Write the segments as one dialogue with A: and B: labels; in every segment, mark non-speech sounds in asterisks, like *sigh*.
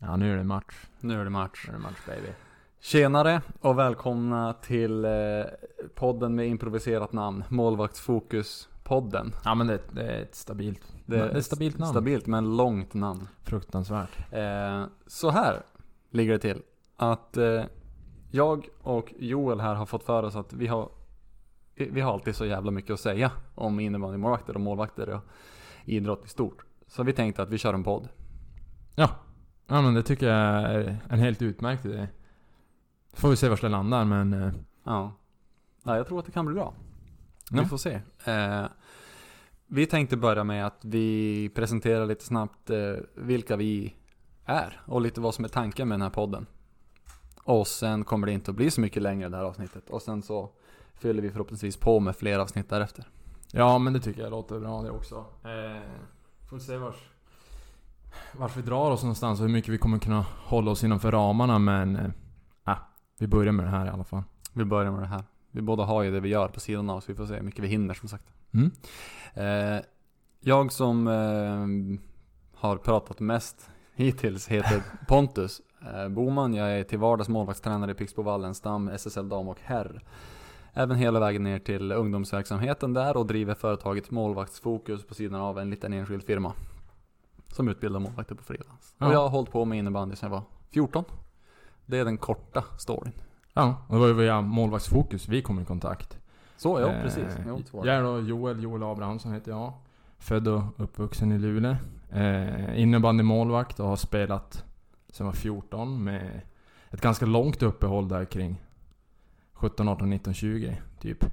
A: Ja, nu är det match.
B: Nu är det match.
A: Nu är det match baby.
B: Tjenare och välkomna till eh, podden med improviserat namn. Målvaktsfokus-podden.
A: Ja, men det, det är ett stabilt,
B: Det
A: det
B: är
A: är ett stabilt namn.
B: Stabilt men långt namn.
A: Fruktansvärt.
B: Eh, så här ligger det till. Att eh, jag och Joel här har fått för oss att vi har, vi vi har alltid så jävla mycket att säga om innebandymålvakter och målvakter och idrott i stort. Så vi tänkte att vi kör en podd.
A: Ja. Ja, men det tycker jag är en helt utmärkt idé. Får vi se vart det landar, men... eh,
B: Ja. ja jag tror att det kan bli bra.
A: Ja.
B: Vi får se. Eh, vi tänkte börja med att vi presenterar lite snabbt eh, vilka vi är och lite vad som är tanken med den här podden. Och sen kommer det inte att bli så mycket längre det här avsnittet och sen så fyller vi förhoppningsvis på med fler avsnitt därefter.
A: Ja, men det tycker jag låter bra det också. Eh, får se vars, vars vi drar oss någonstans och hur mycket vi kommer kunna hålla oss innanför ramarna, men... Eh, ah, vi börjar med det här i alla fall.
B: Vi börjar med det här. Vi båda har ju det vi gör på sidan av så vi får se hur mycket vi hinner som sagt.
A: Mm.
B: Eh, jag som eh, har pratat mest
A: *laughs*
B: hittills heter Pontus eh, Boman. Jag är till vardags målvaktstränare i Pixbo Wallenstam, SSL dam och herr. Även hela vägen ner till ungdomsverksamheten där och driver företaget Målvaktsfokus på sidan av en liten enskild firma. Som utbildar målvakter på frilans.
A: Ja.
B: Och jag har hållit på med innebandy sedan jag var 14. Det är den korta storyn.
A: Ja, och det var ju via Målvaktsfokus vi kom i kontakt.
B: Så, ja
A: Eh,
B: precis. Jo, så var det.
A: Jag är då Joel, Joel Abrahamsson heter jag. Född och uppvuxen i Luleå. Eh, innebandymålvakt och har spelat sedan jag var 14 med ett ganska långt uppehåll där kring 17, 18, 19, 20 typ.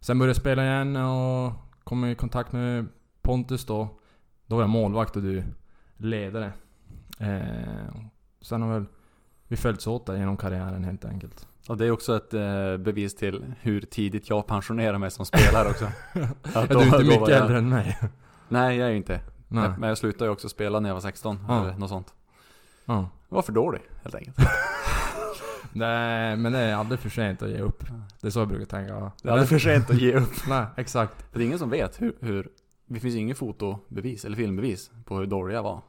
A: Sen började jag spela igen och kom i kontakt med Pontus då. Då var jag målvakt och du ledare. Eh, sen har väl vi följts åt där genom karriären helt enkelt.
B: Och det är också ett eh, bevis till hur tidigt jag pensionerar mig som spelare
A: *laughs*
B: också. Att
A: Ja, du
B: då-
A: är inte
B: då var
A: mycket
B: jag-
A: äldre än mig.
B: Nej, jag är ju inte.
A: Nej.
B: Men jag slutade ju också spela när jag var 16
A: Ja.
B: eller något sånt.
A: Ja.
B: Jag var för dålig helt enkelt.
A: Nej, men det är aldrig för sent att ge upp. Det är så jag brukar tänka. Ja.
B: Det är för sent att
A: *laughs*
B: ge upp.
A: Nej, exakt.
B: För det är ingen som vet hur, hur det finns ju inget fotobevis eller filmbevis på hur dålig jag var.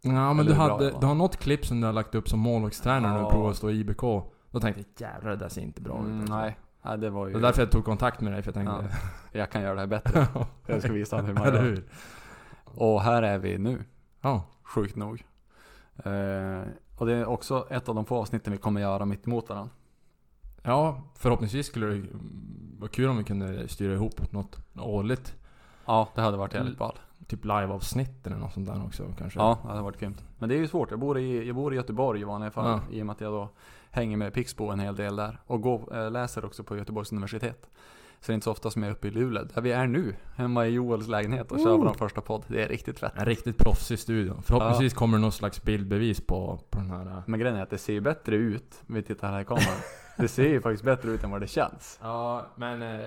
A: Ja, men
B: Eller
A: du,
B: hur bra
A: hade,
B: det var.
A: du har något klipp som du har lagt upp som målvaktstränare när
B: Ja.
A: du provade att stå i IBK. Då tänkte jag jävlar det där ser inte bra ut.
B: Mm,
A: alltså.
B: nej. nej, det var
A: Det
B: ju...
A: var därför jag tog kontakt med dig, för jag tänkte...
B: Jag kan göra det
A: *laughs*
B: här bättre. Jag ska visa honom hur man
A: Eller
B: gör.
A: hur?
B: Och här är vi nu,
A: Ja.
B: sjukt nog. Eh, och det är också ett av de få avsnitten vi kommer göra mitt emot varandra.
A: ja, förhoppningsvis skulle det mm, vara kul om vi kunde styra ihop något årligt.
B: Ja, det hade varit jävligt ball.
A: Typ liveavsnitt eller något sånt där också kanske.
B: Ja, det hade varit grymt. Men det är ju svårt. Jag bor i, jag bor i Göteborg i vanliga fall.
A: Ja.
B: I och med att jag då hänger med Pixbo en hel del där. Och går, eh, läser också på Göteborgs universitet. Så det är inte så ofta som jag är uppe i Luleå. Där vi är nu. Hemma i Joels lägenhet och kör
A: Ooh.
B: vår första podd. Det är riktigt fett.
A: En riktigt proffsig studio. Förhoppningsvis kommer det något slags bildbevis på, på den här...
B: Men grejen är att det ser ju bättre ut. Om vi tittar här i kameran. det ser ju faktiskt bättre ut än vad det känns.
A: Ja, men... eh,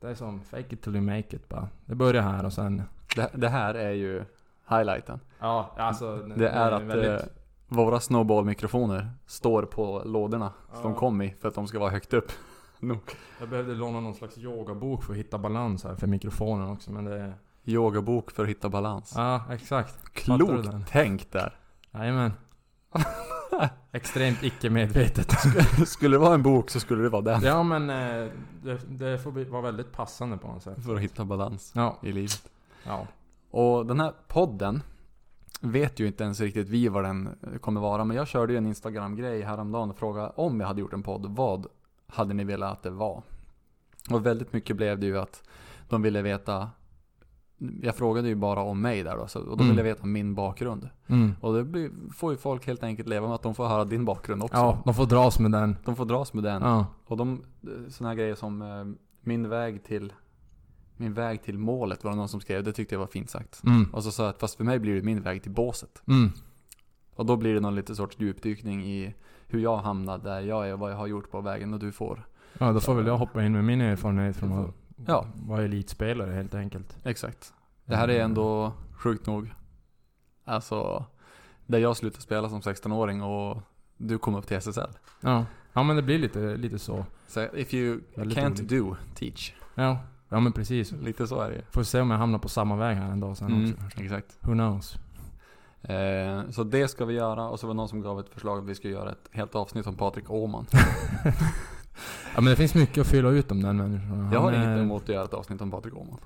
A: Det är som fake it till you make it bara. Det börjar här och sen...
B: Det, det här är ju highlighten.
A: Ja, alltså...
B: Det är att eh, våra snowball-mikrofoner står på lådorna. Som de
A: Ja.
B: kom i. För att de ska vara högt upp. *laughs* Nog.
A: Jag behövde låna någon slags yogabok för att hitta balans här för mikrofonen också, men det...
B: Yogabok för att hitta balans.
A: Ja, exakt. Fattar du
B: Klokt
A: den?
B: tänkt där. *laughs*
A: Jajamän. Extremt icke-medvetet.
B: skulle det vara en bok så skulle det vara den.
A: *laughs* ja, men eh, det, det får bli- vara väldigt passande på något sätt.
B: För att hitta balans
A: Ja.
B: i livet.
A: Ja.
B: Och den här podden vet ju inte ens riktigt vi vad den kommer vara. Men jag körde ju en Instagram-grej häromdagen och frågade om jag hade gjort en podd. Vad hade ni velat att det var? Och väldigt mycket blev det ju att de ville veta. Jag frågade ju bara om mig där då. Så, och de
A: Mm.
B: ville veta min bakgrund.
A: Mm.
B: Och det blir, får ju folk helt enkelt leva med att de får höra din bakgrund också.
A: Ja, de får dras med den.
B: De får dras med den.
A: Ja.
B: Och de, sådana här grejer som eh, min väg till min väg till målet var det någon som skrev. Det tyckte jag var fint sagt.
A: Mm.
B: Och så sa jag att fast för mig blir det min väg till båset.
A: Mm.
B: Och då blir det någon lite sorts djupdykning i hur jag hamnade där jag är och vad jag har gjort på vägen och du får.
A: Ja, då får väl jag hoppa in med min erfarenhet från att
B: Ja.
A: vara elitspelare helt enkelt.
B: Exakt. Det här är ändå sjukt nog. Alltså, där jag slutade spela som 16-åring och du kom upp till SSL.
A: Ja, ja men det blir lite, lite så.
B: Så if you
A: Väldigt
B: can't
A: olikt.
B: do, teach.
A: Ja, Ja men precis.
B: Lite så är det ju.
A: Får se om jag hamnar på samma väg här en dag sen
B: Mm,
A: också kanske.
B: exakt.
A: Who knows?
B: Eh, så det ska vi göra. Och så var det någon som gav ett förslag att vi skulle göra ett helt avsnitt om Patrik Åhman.
A: Ja men det finns mycket att fylla ut om den människan.
B: Jag har
A: Han
B: inget
A: är-
B: emot att göra ett avsnitt om Patrik Åhman.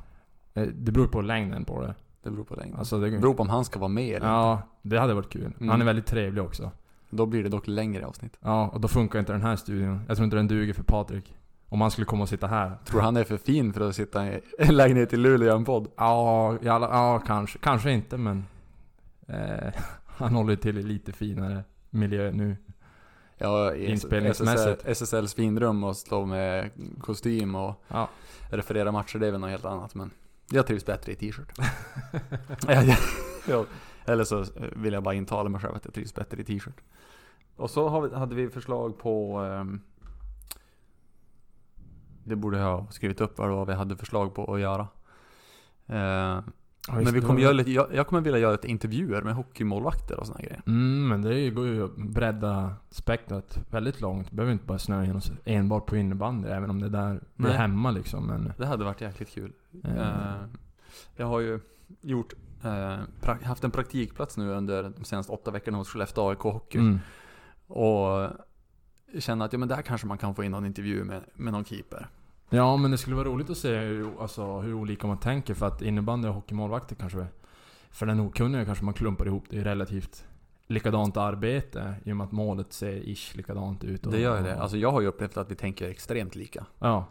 A: eh, Det beror på längden på det.
B: Det beror på längden.
A: Alltså det
B: det beror på om han ska vara med eller
A: Ja, det hade varit kul.
B: Mm.
A: Han är väldigt trevlig också.
B: Då blir det dock längre avsnitt.
A: Ja, och då funkar inte den här studion. Jag tror inte den duger för Patrik. Om han skulle komma och sitta här.
B: Tror han är för fin för att sitta i en lägenhet i Luleå och göra en podd?
A: Ja, i alla, ja kanske, kanske inte men... Eh, *laughs* han håller ju till i lite finare miljö nu.
B: Ja, i
A: Inspelningsmässigt.
B: SSL, SSLs finrum och stå med kostym och
A: Ja.
B: referera matcher, det är väl något helt annat. Men jag trivs bättre i *laughs* t-shirt. Ja, ja. Ja. Eller så eh, vill jag bara intala mig själv att jag trivs bättre i t-shirt. Och så har vi, hade vi förslag på... ehm, det borde jag ha skrivit upp vad det var vi hade förslag på att göra. Eh,
A: Ja,
B: men
A: visst,
B: vi
A: det
B: kommer
A: var-
B: göra lite, jag, jag kommer vilja göra lite intervjuer med hockeymålvakter och såna grejer.
A: Mm, men det är ju- går ju att bredda spektrat väldigt långt. Behöver inte bara snöa in oss enbart på innebandy, även om det är där vi är
B: Nej.
A: hemma liksom. Men,
B: Det hade varit jäkligt kul.
A: eh,
B: Eh, Jag har ju gjort, eh, pra- haft en praktikplats nu under de senaste åtta veckorna hos Skellefteå AIK Hockey.
A: mm.
B: Och känner att ja, men där kanske man kan få in någon intervju med, med någon keeper.
A: Ja, men det skulle vara roligt att se hur, alltså, hur olika man tänker. För att innebandy och hockeymålvakter kanske... För den okunniga kanske man klumpar ihop det i relativt likadant arbete. I och med att målet ser ish likadant ut. Och,
B: Det gör ju det. Alltså jag har ju upplevt att vi tänker extremt lika.
A: ja.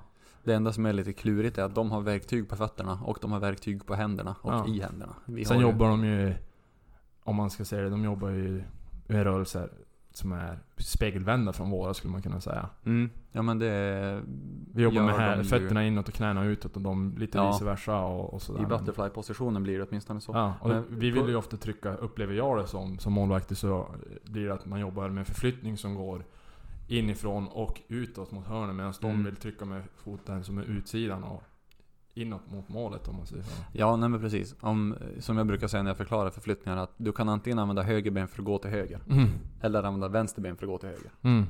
B: Det enda som är lite klurigt är att de har verktyg på fötterna och de har verktyg på händerna och
A: Ja.
B: i händerna. Vi
A: Sen
B: har ju-
A: jobbar de ju... Om man ska säga det, de jobbar ju i rörelser som är spegelvända från våra skulle man kunna säga.
B: Mm. Ja men det
A: Vi jobbar med
B: gör de
A: här,
B: ju.
A: fötterna inåt och knäna utåt och de lite
B: Ja.
A: vice versa och, och sådär.
B: I butterfly-positionen blir det åtminstone så.
A: Ja, och
B: Men-
A: vi vill ju ofta trycka, upplever jag det som, som målvakt så blir det att man jobbar med en förflyttning som går inifrån och utåt mot hörnen medan de
B: Mm.
A: vill trycka med foten som är utsidan och inåt mot målet om man säger så.
B: Ja, nej men precis. Om, eh, som jag brukar säga när jag förklarar förflyttningar att du kan antingen använda höger ben för att gå till höger.
A: Mm.
B: Eller använda vänster ben för att gå till höger.
A: Mm.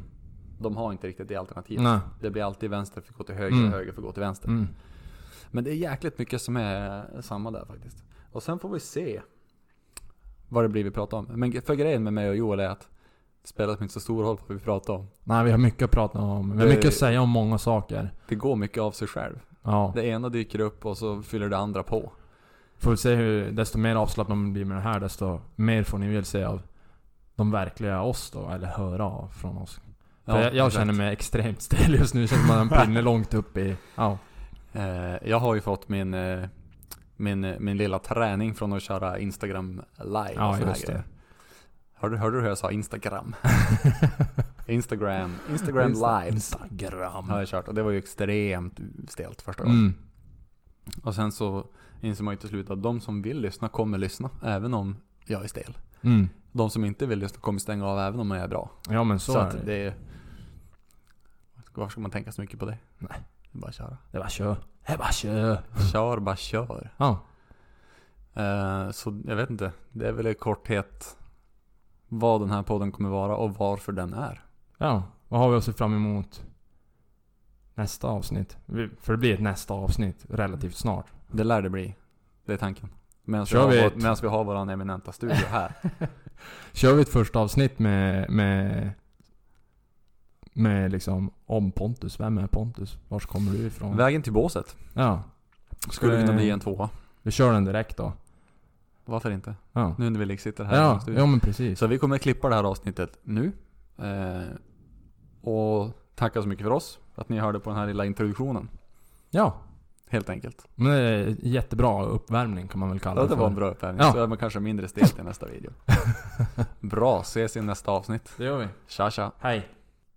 B: De har inte riktigt det alternativet.
A: Nej.
B: Det blir alltid vänster för att gå till höger
A: Mm.
B: och höger för att gå till vänster.
A: Mm.
B: Men det är jäkligt mycket som är samma där faktiskt. Och sen får vi se vad det blir vi pratar om. Men för grejen med mig och Joel är att det spelar inte så stor roll vad vi pratar om.
A: Nej, vi har mycket att prata om. Vi har
B: Det-
A: mycket att säga om många saker.
B: Det går mycket av sig själv.
A: Ja.
B: Det ena dyker upp och så fyller det andra på.
A: Får vi se hur, desto mer avslappnad man blir med det här, desto mer får ni väl se av de verkliga oss då, eller höra av från oss. För
B: Ja,
A: jag, jag
B: exakt.
A: känner mig extremt stel just nu, känner man en pinne långt upp i... Ja.
B: Eh, jag har ju fått min, eh, min, eh, min lilla träning från att köra Instagram live.
A: Ja,
B: och såna
A: just det.
B: grejer. Hörde, hörde du hur jag
A: *laughs*
B: sa Instagram? Instagram, Instagram
A: Insta-
B: live.
A: Instagram.
B: Har jag kört och det var ju extremt stelt första gången.
A: Mm.
B: Och sen så inser man ju till slut att de som vill lyssna kommer lyssna, även om jag är stel.
A: Mm.
B: De som inte vill lyssna kommer stänga av även om jag är bra.
A: Ja men så,
B: Så,
A: är det.
B: att det är... Varför ska man tänka så mycket på det?
A: Nej.
B: Det är bara att köra.
A: Det är bara kör. Det är bara kör.
B: Kör, bara kör.
A: Ja.
B: Eh, Så jag vet inte. Det är väl i korthet vad den här podden kommer vara och varför den är.
A: Ja. Vad har vi att se fram emot? Nästa avsnitt. Vi- För det blir ett nästa avsnitt relativt snart.
B: Det lär det bli. Det är tanken. Medan vi,
A: Kör
B: har
A: vi
B: vår-
A: ett-
B: medans vi har våran eminenta studio här.
A: *laughs* Kör vi ett första avsnitt med... med med liksom om Pontus. Vem är Pontus? Var kommer du ifrån?
B: Vägen till båset.
A: Ja.
B: Skulle kunna
A: Mm. Eh,
B: bli en tvåa.
A: Vi kör den direkt då.
B: Varför inte?
A: Ja.
B: Nu när vi sitter här i
A: Ja,
B: studion.
A: ja men precis.
B: Så vi kommer klippa det här avsnittet nu. Eh, Och tacka så mycket för oss. Att ni hörde på den här lilla introduktionen.
A: Ja.
B: Helt enkelt.
A: Men det är jättebra uppvärmning kan man väl kalla
B: Ja,
A: det
B: det
A: för.
B: var en bra uppvärmning.
A: Ja.
B: Så är man
A: *laughs*
B: kanske mindre stelt i nästa video. Bra, ses i nästa avsnitt.
A: Det gör vi.
B: Tja tja.
A: Hej.